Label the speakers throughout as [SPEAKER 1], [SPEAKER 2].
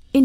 [SPEAKER 1] verscheen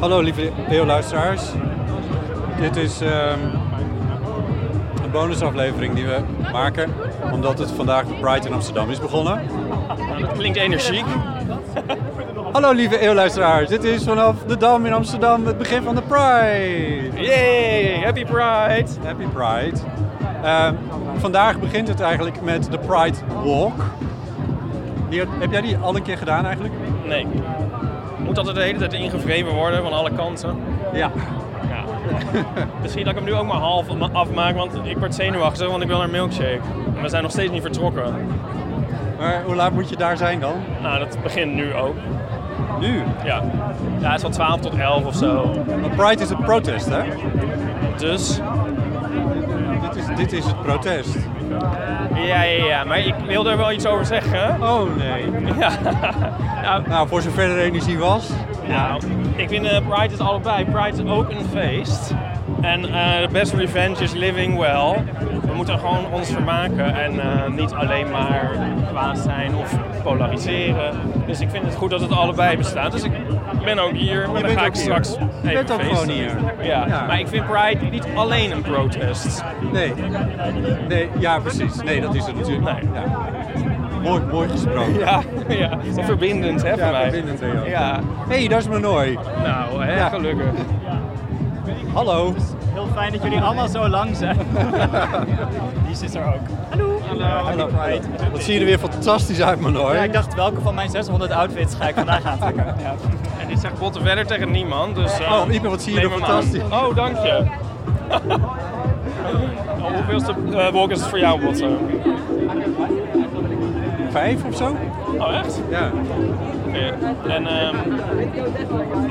[SPEAKER 2] Hallo lieve eeuwluisteraars. Dit is ehm, een bonusaflevering die we maken omdat het vandaag de Pride in Amsterdam is begonnen.
[SPEAKER 3] Klinkt energiek.
[SPEAKER 2] Hallo lieve eeuwluisteraars, dit is vanaf de Dam in Amsterdam het begin van de Pride.
[SPEAKER 3] Yay, happy Pride!
[SPEAKER 2] Happy Pride. Ehm, vandaag begint het eigenlijk met de Pride Walk. Die, heb jij die al een keer gedaan eigenlijk?
[SPEAKER 3] Nee. Moet altijd de hele tijd ingevreven worden van alle kanten.
[SPEAKER 2] Ja.
[SPEAKER 3] Ja. Misschien dat ik hem nu ook maar half ma- afmaak, want ik word zenuwachtig, want ik wil naar een milkshake. En we zijn nog steeds niet vertrokken.
[SPEAKER 2] Maar hoe laat moet je daar zijn dan?
[SPEAKER 3] Nou, dat begint nu ook.
[SPEAKER 2] Nu.
[SPEAKER 3] Ja. Ja, het is van 12 tot 11 of zo.
[SPEAKER 2] Want Pride is een protest hè?
[SPEAKER 3] Dus,
[SPEAKER 2] Dit is, dit is het protest.
[SPEAKER 3] ja, ja, ja. Maar ik wil er wel iets over zeggen.
[SPEAKER 2] Oh nee.
[SPEAKER 3] Ja. Nou,
[SPEAKER 2] Nou, voor zover er energie was.
[SPEAKER 3] Nou, ik vind eh, Pride is allebei. Pride is ook een feest. En eh, the best revenge is living well. We moeten gewoon ons vermaken en eh, niet alleen maar kwaad zijn of polariseren. Dus ik vind het goed dat het allebei bestaat. Dus ik ben ook hier, maar dan
[SPEAKER 2] bent
[SPEAKER 3] ga ik
[SPEAKER 2] ook hier.
[SPEAKER 3] straks
[SPEAKER 2] Je
[SPEAKER 3] even
[SPEAKER 2] bent ook
[SPEAKER 3] feesten.
[SPEAKER 2] gewoon hier.
[SPEAKER 3] Ja.
[SPEAKER 2] Ja.
[SPEAKER 3] maar ik vind Pride niet alleen een protest.
[SPEAKER 2] Nee. Nee, ja, precies. Nee, dat is het natuurlijk.
[SPEAKER 3] Nee.
[SPEAKER 2] Ja. Mooi, mooi gesproken.
[SPEAKER 3] Ja, Ah, ja. verbindend hè,
[SPEAKER 2] Ja,
[SPEAKER 3] voor mij.
[SPEAKER 2] verbindend, hè, ja.
[SPEAKER 3] Ja,
[SPEAKER 2] Hé, hey, daar is Manoy.
[SPEAKER 3] nou, hè,
[SPEAKER 2] Ja.
[SPEAKER 3] gelukkig.
[SPEAKER 2] Hallo.
[SPEAKER 4] Heel fijn dat jullie allemaal zo lang zijn. Die zit er ook.
[SPEAKER 2] Hallo. Wat zie je er weer fantastisch uit, Manoy.
[SPEAKER 4] Ja, ik dacht, welke van mijn 600 outfits ga ik vandaag aantrekken? Ja.
[SPEAKER 3] En dit zegt Botte verder tegen niemand. Dus, eh,
[SPEAKER 2] Oh, Ipe, wat zie je
[SPEAKER 3] neem
[SPEAKER 2] er
[SPEAKER 3] hem
[SPEAKER 2] fantastisch.
[SPEAKER 3] aan. Oh, dank je. oh, hoeveelste eh, wolk is het voor jou, Botte?
[SPEAKER 2] Vijf of zo?
[SPEAKER 3] Oh, echt?
[SPEAKER 2] Ja.
[SPEAKER 3] Oké. En ehm,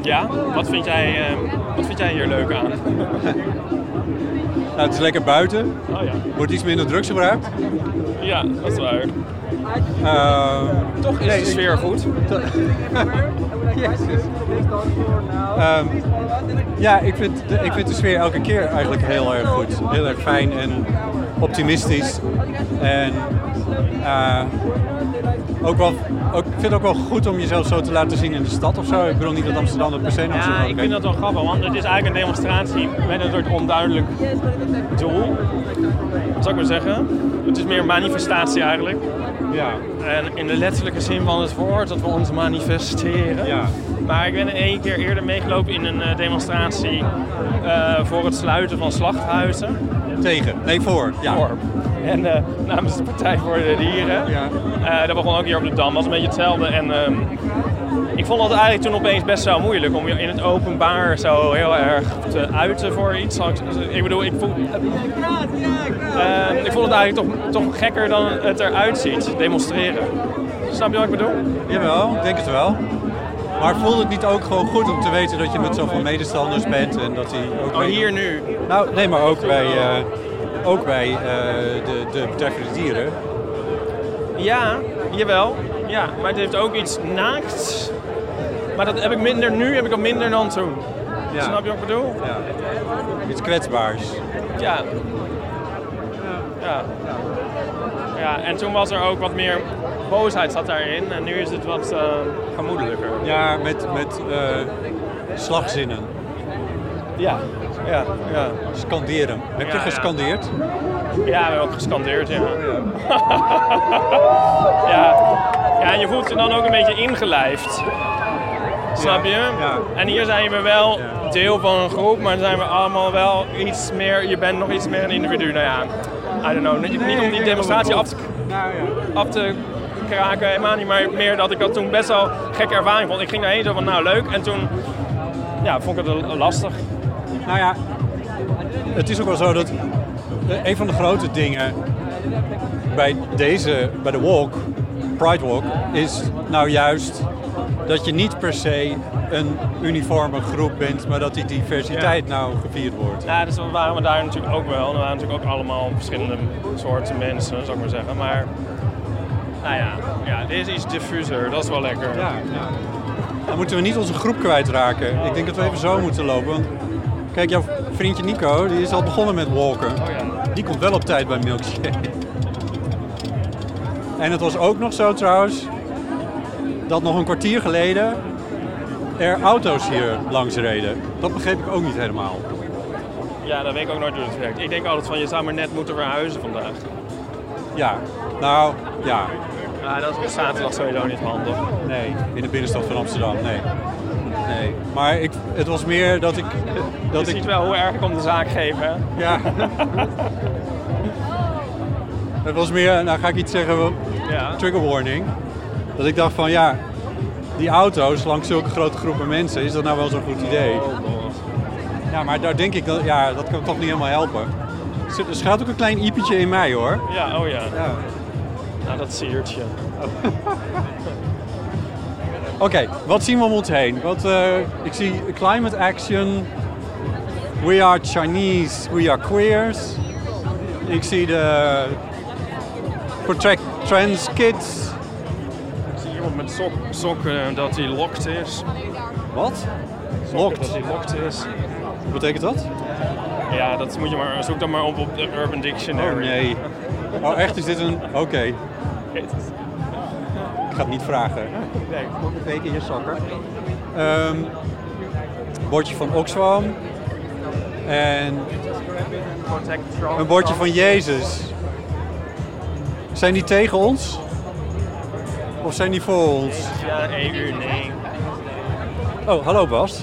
[SPEAKER 3] ja, wat vind, jij, ehm, wat vind jij hier leuk aan?
[SPEAKER 2] Nou, het is lekker buiten.
[SPEAKER 3] Oh ja,
[SPEAKER 2] Wordt iets minder drugs gebruikt.
[SPEAKER 3] ja dat is waar.
[SPEAKER 2] Ehm,
[SPEAKER 3] Toch is de sfeer goed.
[SPEAKER 2] Ehm, ja, ik vind, de, ik vind de sfeer elke keer eigenlijk heel erg goed. Heel erg fijn en optimistisch. En eh, ook wel, ook, ik vind het ook wel goed om jezelf zo te laten zien in de stad of zo. Ik bedoel niet dat Amsterdam dat per se een Amsterdam
[SPEAKER 3] Ja, ik vind dat wel grappig, want het is eigenlijk een demonstratie met een soort onduidelijk doel. Zou ik maar zeggen. Het is meer een manifestatie eigenlijk.
[SPEAKER 2] Ja,
[SPEAKER 3] En in de letterlijke zin van het woord dat we ons manifesteren.
[SPEAKER 2] Ja.
[SPEAKER 3] Maar ik ben in één keer eerder meegelopen in een eh, demonstratie eh, voor het sluiten van slachthuizen.
[SPEAKER 2] tegen. Nee, voor. Ja.
[SPEAKER 3] Dorp. En eh, namens de Partij voor de Dieren.
[SPEAKER 2] Ja.
[SPEAKER 3] Eh, dat begon ook hier op de Dam. Dat was een beetje hetzelfde. En ehm, ik vond dat eigenlijk toen opeens best wel moeilijk om je in het openbaar zo heel erg te uiten voor iets. Zal ik- Ik bedoel, ik voel, Ehm, ik vond het eigenlijk toch, toch gekker dan het eruit ziet, demonstreren. Snap je wat ik bedoel?
[SPEAKER 2] Jawel, ik denk het wel. Maar voelt het niet ook gewoon goed om te weten dat je met zoveel medestanders bent en dat die ook
[SPEAKER 3] Oh,
[SPEAKER 2] mee-
[SPEAKER 3] hier nu.
[SPEAKER 2] Nou, nee, maar ook bij, eh, ook bij eh, de, de Partij voor de Dieren.
[SPEAKER 3] Ja, jawel. Ja, maar het heeft ook iets naakts. Maar dat heb ik minder nu, heb ik dat minder dan toen.
[SPEAKER 2] Ja.
[SPEAKER 3] Snap je wat ik bedoel?
[SPEAKER 2] Ja. Iets kwetsbaars.
[SPEAKER 3] Ja. Ja. Ja, en toen was er ook wat meer boosheid zat daarin. En nu is het wat eh gemoedelijker.
[SPEAKER 2] Ja, met, met eh, slagzinnen.
[SPEAKER 3] Ja. Ja, ja.
[SPEAKER 2] Scanderen. Heb je
[SPEAKER 3] Ja, ja.
[SPEAKER 2] gescandeerd?
[SPEAKER 3] ja, we hebben ook gescandeerd, ja. ja. Ja, en je voelt je dan ook een beetje ingelijfd. Snap je?
[SPEAKER 2] ja.
[SPEAKER 3] En hier zijn we wel
[SPEAKER 2] Ja.
[SPEAKER 3] deel van een groep, maar zijn we allemaal wel iets meer, je bent nog iets meer een individu. Nou ja, I don't know. Niet, niet om die demonstratie af te, af te kraken, helemaal niet, maar meer dat ik dat toen best wel gekke ervaring vond. Ik ging daarheen zo van, nou leuk, en toen ja, vond ik het lastig.
[SPEAKER 2] Nou ja, het is ook wel zo dat eh, een van de grote dingen bij deze, bij de walk, Pride Walk, is nou juist dat je niet per se een uniforme groep bent, maar dat die diversiteit nou gevierd wordt.
[SPEAKER 3] Ja, dus dat waren we daar natuurlijk ook wel. Er waren natuurlijk ook allemaal verschillende soorten mensen, zou ik maar zeggen. Maar, nou ja, ja dit is iets diffuser. Dat is wel lekker.
[SPEAKER 2] Ja, ja. Dan moeten we niet onze groep kwijtraken. Ik denk dat we even zo moeten lopen. Want kijk, jouw vriendje Nico, die is al begonnen met walken. Die komt wel op tijd bij Milkshake. En het was ook nog zo trouwens, dat nog een kwartier geleden er auto's hier langs reden. Dat begreep ik ook niet helemaal.
[SPEAKER 3] Ja, dat weet ik ook nooit hoe het werkt. Ik denk altijd van, je zou maar net moeten verhuizen vandaag.
[SPEAKER 2] Ja, nou, ja.
[SPEAKER 3] Ja, dat is op zaterdag sowieso niet handig.
[SPEAKER 2] Nee, in de binnenstad van Amsterdam, nee. Nee, maar ik, het was meer dat ik... Dat
[SPEAKER 3] Dat je
[SPEAKER 2] ik
[SPEAKER 3] ziet wel hoe erg ik om de zaak geef, hè?
[SPEAKER 2] Ja. Het was meer, nou ga ik iets zeggen, wel-
[SPEAKER 3] Ja.
[SPEAKER 2] trigger warning. Dat ik dacht van ja, die auto's langs zulke grote groepen mensen, is dat nou wel zo'n goed idee? Ja, maar daar denk ik, dat, ja, dat kan toch niet helemaal helpen. Er zit- Er schuilt ook een klein iepetje in mij hoor.
[SPEAKER 3] Ja, oh ja.
[SPEAKER 2] Ja.
[SPEAKER 3] Nou, dat siertje.
[SPEAKER 2] Oké, wat zien we om ons heen? Wat, eh, ik zie climate action. We are Chinese, we are queers. Ik zie de Protect Trans Kids.
[SPEAKER 3] Ik zie iemand met sok, sokken dat hij lokt is.
[SPEAKER 2] Wat?
[SPEAKER 3] Dat
[SPEAKER 2] Locked.
[SPEAKER 3] hij lokt is.
[SPEAKER 2] Wat betekent dat?
[SPEAKER 3] Ja, dat moet je maar, zoek dat maar op op de Urban Dictionary.
[SPEAKER 2] Oh nee. Oh echt, is dit een... Oké,
[SPEAKER 3] Oh,
[SPEAKER 2] ik ga het niet vragen.
[SPEAKER 3] Nee.
[SPEAKER 2] Twee keer je sokken. bordje van Oxfam. En
[SPEAKER 3] Protect Trump.
[SPEAKER 2] een bordje van Jezus. Zijn die tegen ons? Of zijn die voor ons?
[SPEAKER 3] Ja, EU, nee.
[SPEAKER 2] Oh, hallo Bas.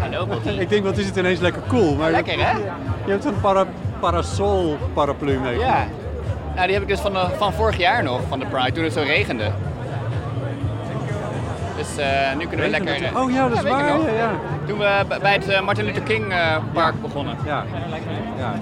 [SPEAKER 4] Hallo, Bobby.
[SPEAKER 2] Ik denk, wat is het ineens lekker cool. Maar
[SPEAKER 4] Lekker, hè?
[SPEAKER 2] Je hebt een para, parasol paraplu mee.
[SPEAKER 4] Ja. Nou, die heb ik dus van, de, van vorig jaar nog, van de Pride, toen het zo regende. Dus eh, nu kunnen we
[SPEAKER 2] Regent
[SPEAKER 4] lekker...
[SPEAKER 2] het? Oh ja, dat is
[SPEAKER 4] weet ik
[SPEAKER 2] waar,
[SPEAKER 4] nog.
[SPEAKER 2] ja, ja.
[SPEAKER 4] Toen we b- bij het eh, Martin Luther King eh, Park begonnen.
[SPEAKER 2] Ja. ja.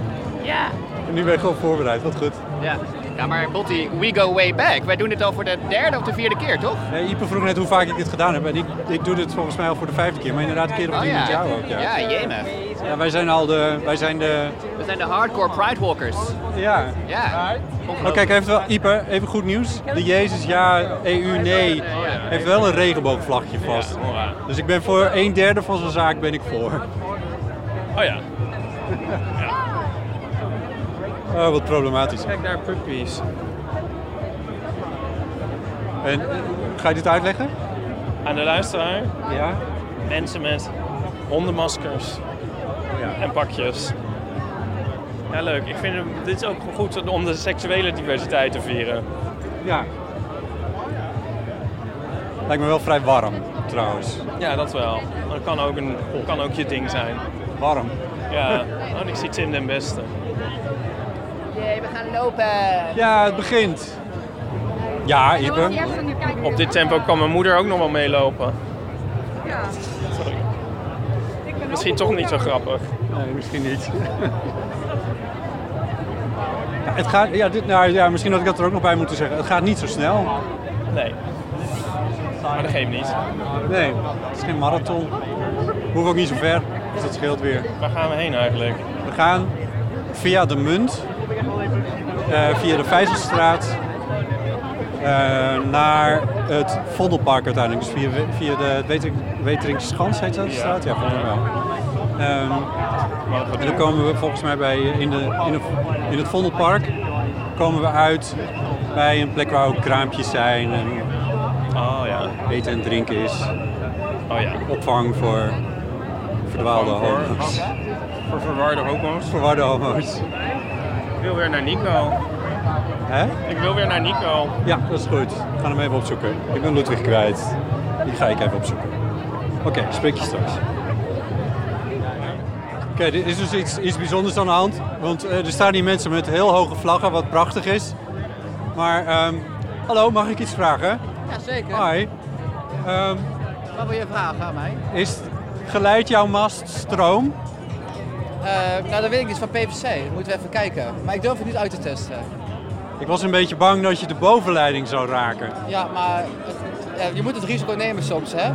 [SPEAKER 4] Ja.
[SPEAKER 2] En Nu ben ik gewoon voorbereid, wat goed.
[SPEAKER 4] Ja. Ja, maar Botti, we go way back. Wij doen dit al voor de derde of de vierde keer, toch?
[SPEAKER 2] Nee, Ipe vroeg net hoe vaak ik dit gedaan heb. En ik, ik doe dit volgens mij al voor de vijfde keer. Maar inderdaad, een keer op
[SPEAKER 4] Oh
[SPEAKER 2] tien met
[SPEAKER 4] ja.
[SPEAKER 2] jou ook. Ja.
[SPEAKER 4] Ja, jemig.
[SPEAKER 2] Ja, wij zijn al de... Wij zijn de
[SPEAKER 4] We zijn de hardcore Pride Walkers.
[SPEAKER 2] ja.
[SPEAKER 4] Ja.
[SPEAKER 2] Oké, kijk, heeft wel, Ipe, even goed nieuws. De Jezus ja, EU nee, heeft wel een regenboogvlagje vast.
[SPEAKER 3] hoera.
[SPEAKER 2] Dus ik ben voor een derde van zijn zaak ben ik voor.
[SPEAKER 3] Oh ja.
[SPEAKER 2] Oh, wat problematisch.
[SPEAKER 3] Kijk daar, puppies.
[SPEAKER 2] En, eh, ga je dit uitleggen?
[SPEAKER 3] Aan de luisteraar,
[SPEAKER 2] Ja.
[SPEAKER 3] mensen met hondenmaskers
[SPEAKER 2] ja.
[SPEAKER 3] en pakjes. Ja, leuk. Ik vind hem- dit is ook goed om de seksuele diversiteit te vieren.
[SPEAKER 2] Ja. Lijkt me wel vrij warm, trouwens.
[SPEAKER 3] Ja, dat wel. Maar Dat kan ook, een, kan ook je ding zijn.
[SPEAKER 2] Warm.
[SPEAKER 3] Ja, oh, en ik zie Tim den Beste.
[SPEAKER 5] Jee, we gaan lopen.
[SPEAKER 2] Ja, het begint. Ja, Ipe.
[SPEAKER 3] Op dit tempo kan mijn moeder ook nog wel meelopen. Sorry. Misschien toch niet zo grappig.
[SPEAKER 2] Nee, misschien niet. Ja, het gaat, ja, dit, nou, ja, misschien had ik dat er ook nog bij moeten zeggen. Het gaat niet zo snel.
[SPEAKER 3] Nee. Maar dat geeft niet.
[SPEAKER 2] Nee, het is geen marathon. Hoef ook niet zo ver, dus dat scheelt weer.
[SPEAKER 3] Waar gaan we heen eigenlijk?
[SPEAKER 2] We gaan via de Munt, eh, via de Vijzelstraat, eh, naar het Vondelpark uiteindelijk. Dus via, via de Wetering- Weteringsschans heet dat de straat? Ja, volgens mij wel. Ehm, en dan komen we volgens mij bij, eh, in, de, in, de, in het Vondelpark komen we uit bij een plek waar ook kraampjes zijn en
[SPEAKER 3] Oh ja.
[SPEAKER 2] eten en drinken is.
[SPEAKER 3] Oh ja.
[SPEAKER 2] Opvang voor verdwaalde homo's.
[SPEAKER 3] Voor verwarde homo's.
[SPEAKER 2] Verwarde homo's.
[SPEAKER 3] Ik wil weer naar Nico.
[SPEAKER 2] Hè?
[SPEAKER 3] Ik wil weer naar Nico.
[SPEAKER 2] Ja, dat is goed. Ik ga hem even opzoeken. Ik ben Ludwig kwijt. Die ga ik even opzoeken. Oké, spreek je straks. Oké, er is dus iets, iets bijzonders aan de hand. Want eh, er staan hier mensen met heel hoge vlaggen, wat prachtig is. Maar, ehm, hallo, mag ik iets vragen?
[SPEAKER 5] Ja, zeker.
[SPEAKER 2] Hi. Ehm,
[SPEAKER 5] Wat wil je vragen aan mij?
[SPEAKER 2] is, geleidt jouw mast stroom?
[SPEAKER 5] Eh, nou, dat weet ik
[SPEAKER 4] dus
[SPEAKER 5] niet van PVC. Moeten we even kijken. Maar ik durf het niet uit te testen.
[SPEAKER 2] Ik was een beetje bang dat je de bovenleiding zou raken.
[SPEAKER 5] Ja, maar het- ja, je moet het risico nemen soms, hè?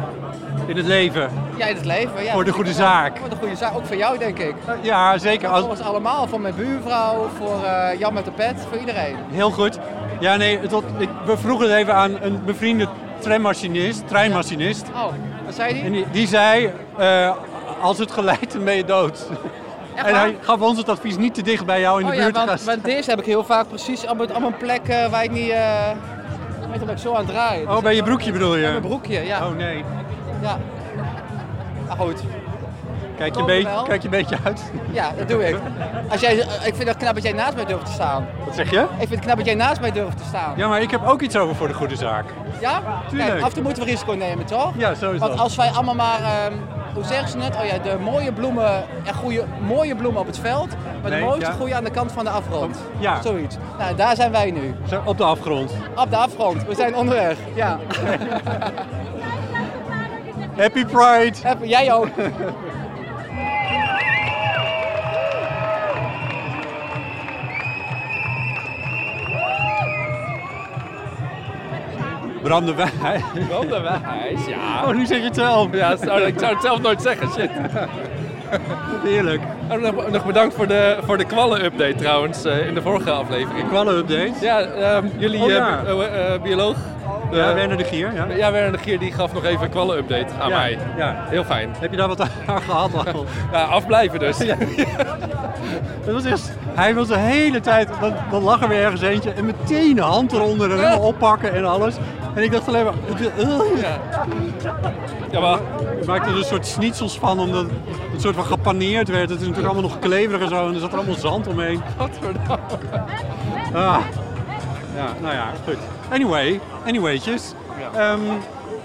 [SPEAKER 2] In het leven.
[SPEAKER 5] Ja, in het leven. Ja,
[SPEAKER 2] Voor de goede zaak.
[SPEAKER 5] Voor de goede zaak. Ook voor jou, denk ik.
[SPEAKER 2] Ja, zeker.
[SPEAKER 5] Voor
[SPEAKER 2] Als,
[SPEAKER 5] ons allemaal. Voor mijn buurvrouw, voor eh, Jan met de pet, voor iedereen.
[SPEAKER 2] Heel goed. Ja, nee, het had- ik, we vroegen het even aan een bevriende trammachinist, treinmachinist.
[SPEAKER 5] Oh, wat zei die?
[SPEAKER 2] En die, die zei, eh, als het geleidt, dan ben je dood. En
[SPEAKER 5] waar?
[SPEAKER 2] hij gaf ons het advies niet te dicht bij jou in de
[SPEAKER 5] oh ja,
[SPEAKER 2] buurt te gaan
[SPEAKER 5] want,
[SPEAKER 2] staan.
[SPEAKER 5] want deze heb ik heel vaak precies allemaal, allemaal een plek eh, waar ik niet... eh weet dat ik zo aan het draaien.
[SPEAKER 2] Oh, bij je broekje bedoel je?
[SPEAKER 5] Met mijn broekje, ja.
[SPEAKER 2] Oh nee.
[SPEAKER 5] ja. Maar goed,
[SPEAKER 2] Kijk je,
[SPEAKER 5] Komen
[SPEAKER 2] een beetje-
[SPEAKER 5] wel.
[SPEAKER 2] kijk je een beetje uit.
[SPEAKER 5] ja, dat doe ik. Als jij, ik vind het knap dat jij naast mij durft te staan.
[SPEAKER 2] Wat zeg je?
[SPEAKER 5] Ik vind het knap dat jij naast mij durft te staan.
[SPEAKER 2] Ja, maar ik heb ook iets over voor de goede zaak.
[SPEAKER 5] Ja?
[SPEAKER 2] Tuurlijk.
[SPEAKER 5] Kijk, af en toe moeten we risico nemen, toch?
[SPEAKER 2] Ja, zo is
[SPEAKER 5] Want
[SPEAKER 2] dat.
[SPEAKER 5] als wij allemaal maar, ehm, hoe zeggen ze het? Oh ja, de mooie bloemen, er groeien mooie bloemen op het veld, maar
[SPEAKER 2] Nee,
[SPEAKER 5] de mooiste
[SPEAKER 2] ja.
[SPEAKER 5] groeien aan de kant van de afgrond.
[SPEAKER 2] Ja.
[SPEAKER 5] Zoiets. Nou, en daar zijn wij nu.
[SPEAKER 2] Zo, op de afgrond.
[SPEAKER 5] Op de afgrond. We zijn onderweg. Ja.
[SPEAKER 2] Happy Pride!
[SPEAKER 5] Heb- Jij ook.
[SPEAKER 2] Bram de Wij.
[SPEAKER 6] Brandewijs, ja.
[SPEAKER 2] Oh, nu zeg je het zelf.
[SPEAKER 6] Ja, zou- ik zou het zelf nooit zeggen, shit.
[SPEAKER 2] Heerlijk.
[SPEAKER 6] Oh, nog, nog bedankt voor de, voor de kwallen-update trouwens, eh, in de vorige aflevering.
[SPEAKER 2] Kwallen-update.
[SPEAKER 6] Ja, ehm, jullie
[SPEAKER 2] Oh,
[SPEAKER 6] eh,
[SPEAKER 2] ja.
[SPEAKER 6] bi- eh, eh, bioloog, de-
[SPEAKER 2] Ja, Werner de Gier. Ja.
[SPEAKER 6] ja, Werner de Gier, die gaf nog even een kwallen-update aan
[SPEAKER 2] Ja,
[SPEAKER 6] mij.
[SPEAKER 2] ja.
[SPEAKER 6] Heel fijn.
[SPEAKER 2] Heb je daar wat aan gehad? Lachel?
[SPEAKER 6] Ja, afblijven dus.
[SPEAKER 2] Dat was echt, hij was de hele tijd, dan, dan lag er weer ergens eentje en meteen de hand eronder en helemaal oppakken en alles. En ik dacht alleen maar, eh,
[SPEAKER 6] Ja, maar
[SPEAKER 2] ik maakte er een soort schnitzels van omdat het soort van gepaneerd werd. Het is natuurlijk allemaal nog kleverig en zo en er zat er allemaal zand omheen.
[SPEAKER 6] wat voor nou?
[SPEAKER 2] Ah. Ja, nou ja, goed. Anyway, anywaytjes. Ehm,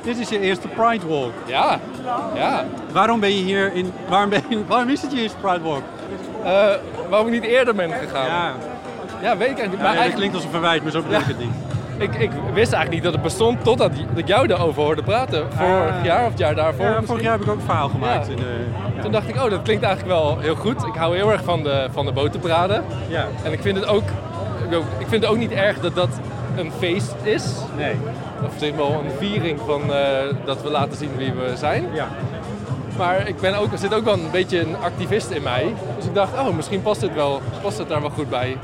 [SPEAKER 2] dit is je eerste Pride Walk.
[SPEAKER 6] Ja, ja.
[SPEAKER 2] Waarom ben je hier in, waarom, ben je, waarom is het je eerste Pride Walk?
[SPEAKER 6] Eh, waarom ik niet eerder ben gegaan?
[SPEAKER 2] Ja,
[SPEAKER 6] Ja, weet ik eigenlijk niet.
[SPEAKER 2] maar
[SPEAKER 6] Maar
[SPEAKER 2] dat
[SPEAKER 6] eigenlijk,
[SPEAKER 2] klinkt als een verwijt, maar zo bedoel ik het niet.
[SPEAKER 6] ik, ik wist eigenlijk niet dat het bestond totdat dat ik jou erover hoorde praten. Vorig
[SPEAKER 2] Ah.
[SPEAKER 6] jaar of het jaar daarvoor.
[SPEAKER 2] Ja,
[SPEAKER 6] misschien.
[SPEAKER 2] vorig jaar heb ik ook een verhaal gemaakt.
[SPEAKER 6] Ja.
[SPEAKER 2] In de, ja.
[SPEAKER 6] Toen dacht ik, oh, dat klinkt eigenlijk wel heel goed. Ik hou heel erg van de, van de boterbraden.
[SPEAKER 2] Ja.
[SPEAKER 6] En ik vind het ook, ik ook- ik vind het ook niet erg dat dat een feest is.
[SPEAKER 2] Nee.
[SPEAKER 6] Of het is wel een viering van eh, dat we laten zien wie we zijn.
[SPEAKER 2] Ja.
[SPEAKER 6] Maar ik ben ook, er zit ook wel een beetje een activist in mij. Dus ik dacht, oh, misschien past dit wel, past het daar wel goed bij.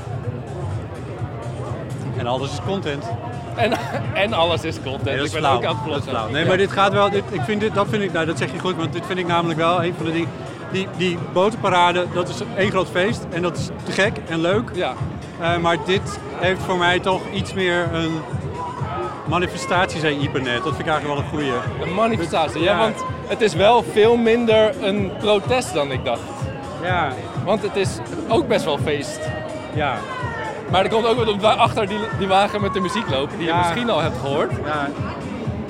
[SPEAKER 2] En alles is content.
[SPEAKER 6] En, en alles is content.
[SPEAKER 2] dat is
[SPEAKER 6] ik ben
[SPEAKER 2] flauw.
[SPEAKER 6] ook aan
[SPEAKER 2] Dat
[SPEAKER 6] het
[SPEAKER 2] is
[SPEAKER 6] vloggen.
[SPEAKER 2] flauw. Nee,
[SPEAKER 6] Ja.
[SPEAKER 2] maar dit gaat wel. Dit, ik vind dit, dat vind ik, nou, dat zeg je goed, want dit vind ik namelijk wel een van de dingen. Die, die boterparade, dat is één groot feest en dat is te gek en leuk.
[SPEAKER 6] Ja,
[SPEAKER 2] Eh, maar dit heeft voor mij toch iets meer een manifestatie, zei Ieper net. Dat vind ik eigenlijk wel een goeie.
[SPEAKER 6] een manifestatie. Ja,
[SPEAKER 2] Ja.
[SPEAKER 6] want het is wel veel minder een protest dan ik dacht.
[SPEAKER 2] Ja,
[SPEAKER 6] Want het is ook best wel feest.
[SPEAKER 2] ja.
[SPEAKER 6] Maar er komt ook wat op wa- achter die, die wagen met de muziek lopen, die
[SPEAKER 2] Ja.
[SPEAKER 6] je misschien al hebt gehoord.
[SPEAKER 2] ja.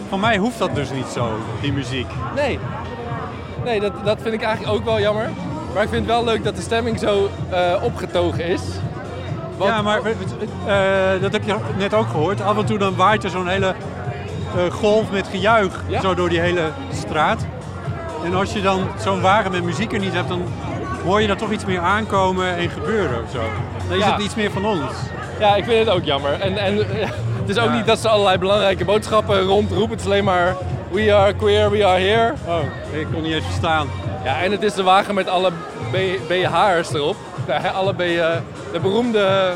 [SPEAKER 2] Voor mij hoeft dat dus niet zo, die muziek.
[SPEAKER 6] Nee, nee dat, dat vind ik eigenlijk ook wel jammer. Maar ik vind het wel leuk dat de stemming zo eh, opgetogen is. Want-
[SPEAKER 2] Ja, maar we- we- eh, dat heb je net ook gehoord. Af en toe dan waait er zo'n hele eh, golf met gejuich
[SPEAKER 6] Ja.
[SPEAKER 2] zo door die hele straat. En als je dan zo'n wagen met muziek er niet hebt, dan hoor je daar toch iets meer aankomen en gebeuren of zo. Dan is
[SPEAKER 6] Ja.
[SPEAKER 2] het iets meer van ons.
[SPEAKER 6] Ja, ik vind het ook jammer. En, en ja, het is ook
[SPEAKER 2] Ja.
[SPEAKER 6] niet dat ze allerlei belangrijke boodschappen rondroepen. Het is alleen maar we are queer, we are here.
[SPEAKER 2] Oh, ik kon niet eens verstaan.
[SPEAKER 6] Ja, en het is de wagen met alle B- BH'ers erop. De, alle B, eh, de beroemde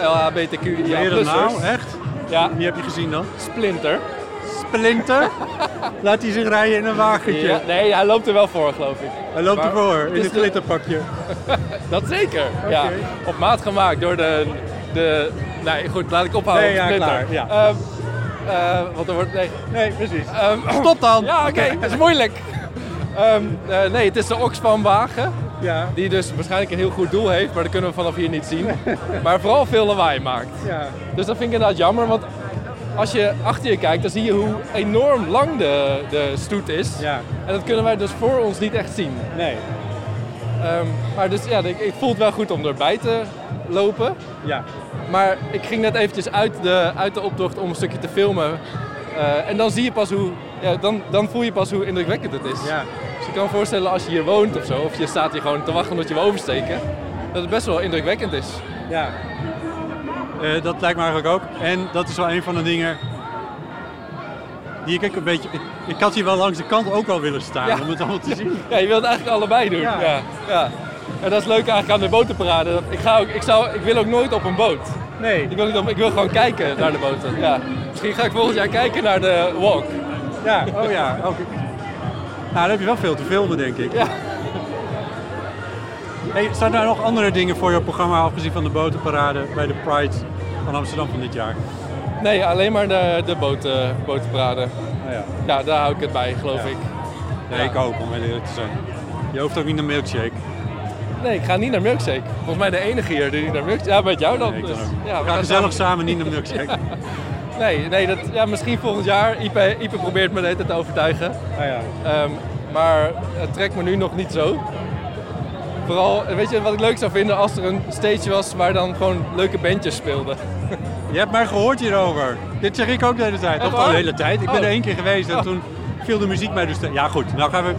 [SPEAKER 6] eh, LHBTQ.
[SPEAKER 2] Weer dat
[SPEAKER 6] dus.
[SPEAKER 2] nou, echt?
[SPEAKER 6] Ja,
[SPEAKER 2] Wie heb je gezien dan?
[SPEAKER 6] Splinter.
[SPEAKER 2] Splinter? Laat hij zich rijden in een wagentje.
[SPEAKER 6] Ja, nee, hij loopt er wel voor, geloof ik.
[SPEAKER 2] Hij loopt
[SPEAKER 6] Maar
[SPEAKER 2] ervoor,
[SPEAKER 6] het
[SPEAKER 2] in
[SPEAKER 6] is
[SPEAKER 2] een
[SPEAKER 6] de-
[SPEAKER 2] glitterpakje.
[SPEAKER 6] Dat zeker. Ja. Op maat gemaakt door de. de nee, goed, laat ik ophouden.
[SPEAKER 2] Nee,
[SPEAKER 6] over
[SPEAKER 2] ja,
[SPEAKER 6] Splinter.
[SPEAKER 2] klaar, ja.
[SPEAKER 6] Ehm, eh, want er wordt. Nee.
[SPEAKER 2] Nee, precies.
[SPEAKER 6] ehm,
[SPEAKER 2] Stop dan!
[SPEAKER 6] ja, oké, dat is moeilijk. Ehm, eh, nee, het is de Oxfam-wagen.
[SPEAKER 2] Ja.
[SPEAKER 6] Die dus waarschijnlijk een heel goed doel heeft, maar dat kunnen we vanaf hier niet zien. Maar vooral veel lawaai maakt.
[SPEAKER 2] Ja.
[SPEAKER 6] Dus dat vind ik inderdaad jammer, want als je achter je kijkt, dan zie je hoe enorm lang de, de stoet is.
[SPEAKER 2] Ja.
[SPEAKER 6] En dat kunnen wij dus voor ons niet echt zien.
[SPEAKER 2] Nee.
[SPEAKER 6] Ehm, maar dus ja, ik, ik voel het wel goed om erbij te lopen.
[SPEAKER 2] Ja.
[SPEAKER 6] Maar ik ging net eventjes uit de, uit de optocht om een stukje te filmen. Eh, en dan zie je pas hoe, ja, dan, dan voel je pas hoe indrukwekkend het is.
[SPEAKER 2] Ja.
[SPEAKER 6] Dus je kan me voorstellen als je hier woont of zo, of je staat hier gewoon te wachten tot je wil oversteken, dat het best wel indrukwekkend is.
[SPEAKER 2] Ja. Eh, dat lijkt me eigenlijk ook. En dat is wel een van de dingen. Die ik ook een beetje. Ik, ik had hier wel langs de kant ook wel willen staan
[SPEAKER 6] Ja.
[SPEAKER 2] om het allemaal te zien.
[SPEAKER 6] Ja, je wilt eigenlijk allebei doen.
[SPEAKER 2] Ja.
[SPEAKER 6] Ja. Ja. En dat is leuk eigenlijk aan de botenparade. Dat- Ik, ga ook, ik, zou, ik wil ook nooit op een boot.
[SPEAKER 2] Nee.
[SPEAKER 6] Ik wil, niet op- ik wil gewoon kijken naar de boten. Ja. Misschien ga ik volgend jaar kijken naar de walk.
[SPEAKER 2] Ja, oh ja. Ook. Nou, dan heb je wel veel te filmen, denk ik.
[SPEAKER 6] Ja.
[SPEAKER 2] Hey, staan daar nog andere dingen voor je programma, afgezien van de botenparade bij de Pride van Amsterdam van dit jaar?
[SPEAKER 6] Nee, alleen maar de, de boten, botenparade.
[SPEAKER 2] Nou ja.
[SPEAKER 6] Ja, daar hou ik het bij, geloof
[SPEAKER 2] Ja.
[SPEAKER 6] ik.
[SPEAKER 2] Nee, ik ook, om heel eerlijk te zijn. Je hoeft ook niet naar milkshake.
[SPEAKER 6] Nee, ik ga niet naar Milkshake. Volgens mij de enige hier die niet naar Milkshake... Ja, met jou dan.
[SPEAKER 2] Nee, ik
[SPEAKER 6] dus.
[SPEAKER 2] dan ook.
[SPEAKER 6] Ja, we
[SPEAKER 2] we gaan
[SPEAKER 6] gaan
[SPEAKER 2] gezellig samen niet naar milkshake.
[SPEAKER 6] samen- Nee, nee dat, ja, misschien volgend jaar. Ipe, Ipe probeert me de hele tijd te overtuigen.
[SPEAKER 2] Ah ja.
[SPEAKER 6] Ehm, maar het trekt me nu nog niet zo. Vooral, weet je wat ik leuk zou vinden als er een stage was waar dan gewoon leuke bandjes speelden.
[SPEAKER 2] Je hebt mij gehoord hierover. Dit zeg ik ook de hele tijd.
[SPEAKER 6] Echt
[SPEAKER 2] Of al de
[SPEAKER 6] waar?
[SPEAKER 2] hele tijd. Ik ben
[SPEAKER 6] Oh.
[SPEAKER 2] er één keer geweest en
[SPEAKER 6] Oh.
[SPEAKER 2] toen viel de muziek mij dus... te- Ja goed, nou gaan we...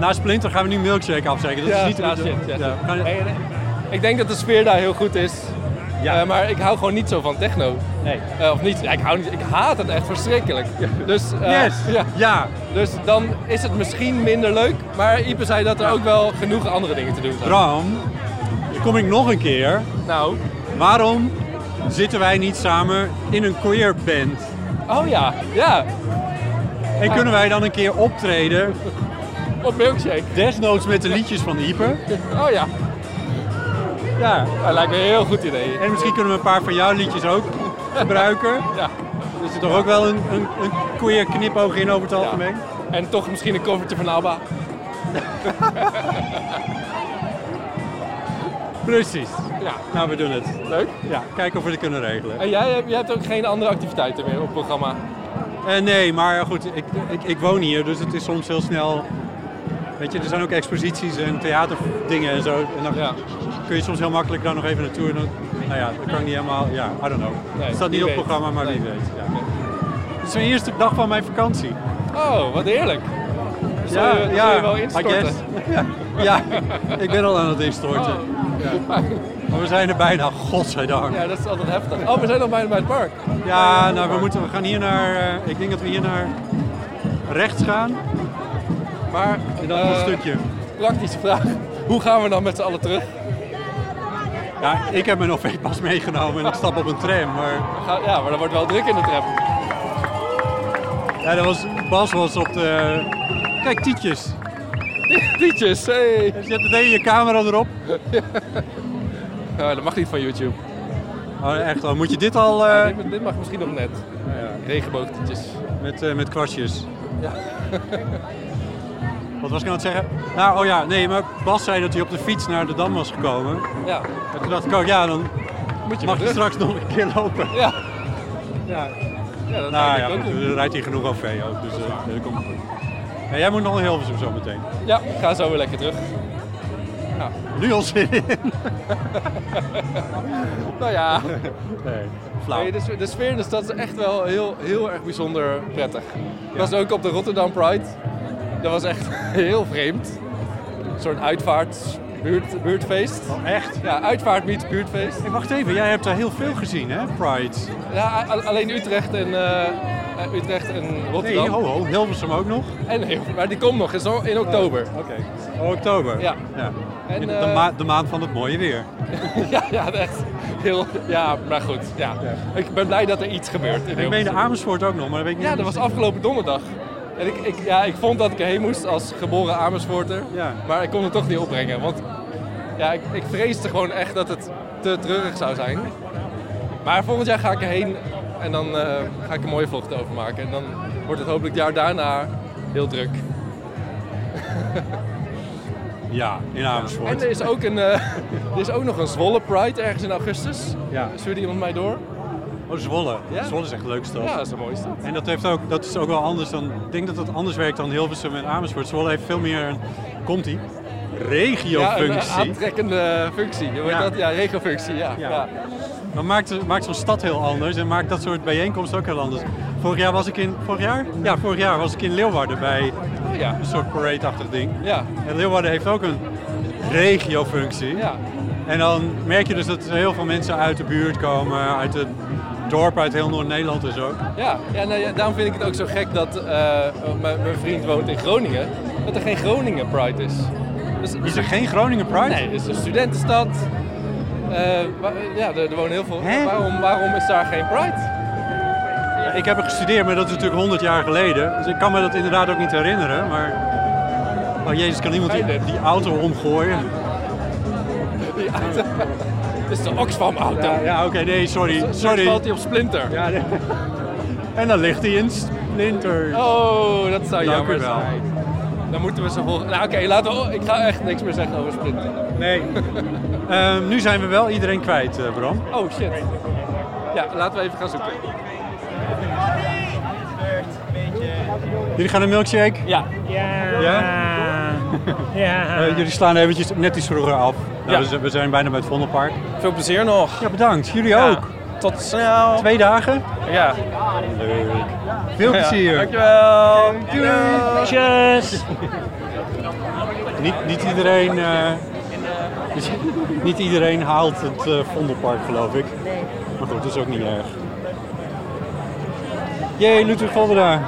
[SPEAKER 2] Na Splinter gaan we nu milkshake afzeggen. Dat
[SPEAKER 6] Ja,
[SPEAKER 2] is niet de
[SPEAKER 6] ja,
[SPEAKER 2] bedoeling.
[SPEAKER 6] shit, ja.
[SPEAKER 2] Ja, we gaan-
[SPEAKER 6] Nee, nee. Ik denk dat de sfeer daar heel goed is.
[SPEAKER 2] Ja.
[SPEAKER 6] Eh, maar ik hou gewoon niet zo van techno.
[SPEAKER 2] Nee.
[SPEAKER 6] Eh, of niet, ja, ik, hou niet, ik haat het echt verschrikkelijk. Dus, eh,
[SPEAKER 2] Yes!
[SPEAKER 6] ja.
[SPEAKER 2] ja.
[SPEAKER 6] Dus dan is het misschien minder leuk. Maar Ipe zei dat er ook wel genoeg andere dingen te doen zijn.
[SPEAKER 2] Bram, kom ik nog een keer.
[SPEAKER 6] Nou,
[SPEAKER 2] Waarom zitten wij niet samen in een queer band?
[SPEAKER 6] oh ja, ja,
[SPEAKER 2] En kunnen wij dan een keer optreden,
[SPEAKER 6] op milkshake.
[SPEAKER 2] desnoods met de liedjes van Ieper?
[SPEAKER 6] Oh ja,
[SPEAKER 2] Ja.
[SPEAKER 6] dat lijkt me een heel goed idee.
[SPEAKER 2] En misschien kunnen we een paar van jouw liedjes ook gebruiken.
[SPEAKER 6] Ja.
[SPEAKER 2] Er zit toch ook wel een, een, een queer knipoog in over het algemeen?
[SPEAKER 6] En toch misschien een covertje van ABBA.
[SPEAKER 2] Precies.
[SPEAKER 6] Ja,
[SPEAKER 2] Nou, we doen het.
[SPEAKER 6] leuk.
[SPEAKER 2] Ja, kijken of we het kunnen regelen.
[SPEAKER 6] En jij, hebt- jij hebt ook geen andere activiteiten meer op het programma.
[SPEAKER 2] Eh, nee, maar goed, ik, ik, ik woon hier, dus het is soms heel snel... Weet je, er zijn ook exposities en theaterdingen en zo. En dan
[SPEAKER 6] Ja.
[SPEAKER 2] kun je soms heel makkelijk daar nog even naartoe. En dan, nou ja, dat kan ik niet helemaal... Ja, I don't know.
[SPEAKER 6] Nee,
[SPEAKER 2] het staat niet
[SPEAKER 6] wie
[SPEAKER 2] op het
[SPEAKER 6] weet.
[SPEAKER 2] programma, maar wie weet. Ja. Het is mijn eerste dag van mijn vakantie.
[SPEAKER 6] Oh, wat heerlijk. Zou je, zou je wel
[SPEAKER 2] I guess.
[SPEAKER 6] instorten? Oh.
[SPEAKER 2] ja, ja, ik ben al aan het instorten. Maar we zijn er bijna, godzijdank.
[SPEAKER 6] Ja, dat is altijd heftig. Oh, we zijn al bijna bij het park.
[SPEAKER 2] Ja, nou, we, moeten, we gaan hier naar... eh, ik denk dat we hier naar rechts gaan.
[SPEAKER 6] Maar
[SPEAKER 2] En dan nog
[SPEAKER 6] eh,
[SPEAKER 2] een stukje.
[SPEAKER 6] praktische vraag. Hoe gaan we dan met z'n allen terug?
[SPEAKER 2] Ja, ik heb mijn OV-pas meegenomen en ik stap op een tram. Maar
[SPEAKER 6] Ga- Ja, maar dat wordt wel druk in de tram.
[SPEAKER 2] ja, dat was, Bas was op de... Kijk, Tietjes.
[SPEAKER 6] Tietjes, hey.
[SPEAKER 2] Zet meteen je camera erop.
[SPEAKER 6] Ja, Eh, dat mag niet van YouTube.
[SPEAKER 2] Oh, echt al. Moet je dit al eh,
[SPEAKER 6] dit, mag- dit mag misschien nog net. Regenboogtietjes.
[SPEAKER 2] met, eh, met kwastjes? Wat was ik aan het zeggen? Nou, oh ja, nee, maar Bas zei dat hij op de fiets naar de Dam was gekomen.
[SPEAKER 6] Ja,
[SPEAKER 2] En toen dacht ik ook, ja, dan
[SPEAKER 6] moet je
[SPEAKER 2] mag
[SPEAKER 6] weer
[SPEAKER 2] je
[SPEAKER 6] terug.
[SPEAKER 2] straks nog een keer lopen.
[SPEAKER 6] Ja.
[SPEAKER 2] Ja,
[SPEAKER 6] ja, dat
[SPEAKER 2] nou
[SPEAKER 6] denk
[SPEAKER 2] ja,
[SPEAKER 6] ik ook
[SPEAKER 2] goed,
[SPEAKER 6] doen.
[SPEAKER 2] er rijdt hier genoeg OV ook, dus eh, dat komt goed. Ja, jij moet nog een Hilversum zo meteen.
[SPEAKER 6] Ja, ik ga zo weer lekker terug.
[SPEAKER 2] Nu al zin in.
[SPEAKER 6] Nou ja,
[SPEAKER 2] Nee,
[SPEAKER 6] nee, de, sfeer- de sfeer in de stad is echt wel heel, heel erg bijzonder prettig. Ik was ook op de Rotterdam Pride. Dat was echt heel vreemd. Een soort uitvaart, buurt, buurtfeest.
[SPEAKER 2] Oh, Echt?
[SPEAKER 6] Ja, uitvaart meets buurtfeest.
[SPEAKER 2] Hey, wacht even, jij hebt daar heel veel gezien, hè? Pride.
[SPEAKER 6] Ja, a- alleen Utrecht en, eh, eh, Utrecht en Rotterdam.
[SPEAKER 2] Nee, ho, ho. Hilversum ook nog?
[SPEAKER 6] En heel- maar die komt nog eens hoor, in oktober.
[SPEAKER 2] Oké. Oh, oktober.
[SPEAKER 6] Ja. En,
[SPEAKER 2] de,
[SPEAKER 6] eh,
[SPEAKER 2] ma- de maand van het mooie weer. Oh.
[SPEAKER 6] Ja, ja, echt. Heel, ja, maar goed. Ja. Ik ben blij dat er iets gebeurt. in
[SPEAKER 2] Ik
[SPEAKER 6] Hilversum.
[SPEAKER 2] meen de Amersfoort ook nog, maar dat weet ik niet.
[SPEAKER 6] Ja, dat was afgelopen donderdag. En ik, ik, ja, ik vond dat ik erheen moest als geboren Amersfoorter.
[SPEAKER 2] Ja.
[SPEAKER 6] Maar ik kon het toch niet opbrengen. Want ja, ik, ik vreesde gewoon echt dat het te treurig zou zijn. Maar volgend jaar ga ik erheen en dan eh, ga ik een mooie vlog erover maken. En dan wordt het hopelijk het jaar daarna heel druk.
[SPEAKER 2] Ja, in Amersfoort.
[SPEAKER 6] En er is, ook een, eh, er is ook nog een Zwolle Pride ergens in augustus.
[SPEAKER 2] Ja.
[SPEAKER 6] Stuurde iemand mij door.
[SPEAKER 2] Oh, Zwolle.
[SPEAKER 6] Ja.
[SPEAKER 2] Zwolle is echt leuk stad.
[SPEAKER 6] Ja, dat is de mooiste stad.
[SPEAKER 2] En dat, heeft ook, dat is ook wel anders dan. Ik denk dat dat anders werkt dan Hilversum en Amersfoort. Zwolle heeft veel meer een. Komt ie?
[SPEAKER 6] Ja, een
[SPEAKER 2] Regiofunctie.
[SPEAKER 6] aantrekkende functie. Hoe heet
[SPEAKER 2] Ja.
[SPEAKER 6] dat? Ja, regiofunctie. Ja.
[SPEAKER 2] Ja.
[SPEAKER 6] Ja.
[SPEAKER 2] Dat maakt, maakt zo'n stad heel anders en maakt dat soort bijeenkomsten ook heel anders. Vorig jaar was ik in. Vorig jaar? Ja, vorig jaar was ik in Leeuwarden bij
[SPEAKER 6] Oh ja.
[SPEAKER 2] een soort parade-achtig ding.
[SPEAKER 6] Ja.
[SPEAKER 2] En Leeuwarden heeft ook een regiofunctie.
[SPEAKER 6] Ja.
[SPEAKER 2] En dan merk je dus dat er heel veel mensen uit de buurt komen, uit het dorp, uit heel Noord-Nederland dus ook.
[SPEAKER 6] Ja, ja, nou ja, daarom vind ik het ook zo gek dat eh, mijn mijn vriend woont in Groningen, dat er geen Groningen Pride is. Dus,
[SPEAKER 2] Is er geen Groningen Pride?
[SPEAKER 6] Nee, het is een studentenstad. Eh, waar- ja, er, er wonen heel veel.
[SPEAKER 2] Hè?
[SPEAKER 6] Waarom, waarom is daar geen Pride?
[SPEAKER 2] Ik heb er gestudeerd, maar dat is natuurlijk 100 jaar geleden. Dus ik kan me dat inderdaad ook niet herinneren. Maar. Oh jezus, kan iemand die, die auto omgooien?
[SPEAKER 6] Die auto. Het is de Oxfam-auto.
[SPEAKER 2] Ja, ja oké, nee, sorry.
[SPEAKER 6] Zo- zo
[SPEAKER 2] sorry.
[SPEAKER 6] valt hij op Splinter.
[SPEAKER 2] Ja, nee. En dan ligt hij in splinters.
[SPEAKER 6] Oh, dat zou
[SPEAKER 2] Dank u
[SPEAKER 6] jammer
[SPEAKER 2] wel.
[SPEAKER 6] zijn. Dan moeten we ze volgen. Nou, oké, laten we. Ik ga echt niks meer zeggen over Splinter.
[SPEAKER 2] Nee. Ehm, nu zijn we wel iedereen kwijt, eh, Bram.
[SPEAKER 6] Oh shit. Ja, laten we even gaan zoeken.
[SPEAKER 2] Jullie gaan een milkshake?
[SPEAKER 3] Ja.
[SPEAKER 2] Ja? Eh, jullie slaan eventjes net iets vroeger af. Nou,
[SPEAKER 3] Ja.
[SPEAKER 2] we zijn- We zijn bijna bij het Vondelpark.
[SPEAKER 3] Eh, Veel plezier nog.
[SPEAKER 2] Ja, bedankt. Jullie ook.
[SPEAKER 3] Tot snel.
[SPEAKER 2] Twee dagen.
[SPEAKER 3] Ja.
[SPEAKER 2] Veel plezier.
[SPEAKER 3] Dankjewel. Tjus.
[SPEAKER 2] Niet, niet iedereen... eh, dus- niet iedereen haalt het eh, Vondelpark, geloof ik. Maar goed, dat is ook niet erg. Jee, Ludwig Voldera.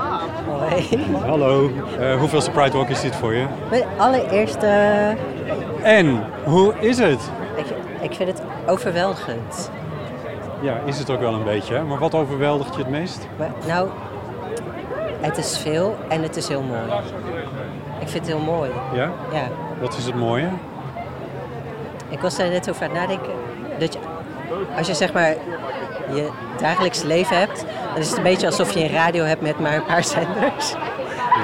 [SPEAKER 2] Hallo. Eh hoeveelste Pride Walk is dit voor je?
[SPEAKER 7] Mijn allereerste.
[SPEAKER 2] En, hoe is het?
[SPEAKER 7] Ik, ik vind het overweldigend.
[SPEAKER 2] Ja, is het ook wel een beetje. hè? Maar wat overweldigt je het meest?
[SPEAKER 7] Maar, nou, het is veel en het is heel mooi. Ik vind het heel mooi.
[SPEAKER 2] Ja?
[SPEAKER 7] Ja.
[SPEAKER 2] Wat is het mooie?
[SPEAKER 7] Ik was daar net over aan het nadenken. Dat je, als je zeg maar je dagelijks leven hebt, dan is het een beetje alsof je een radio hebt met maar een paar zenders.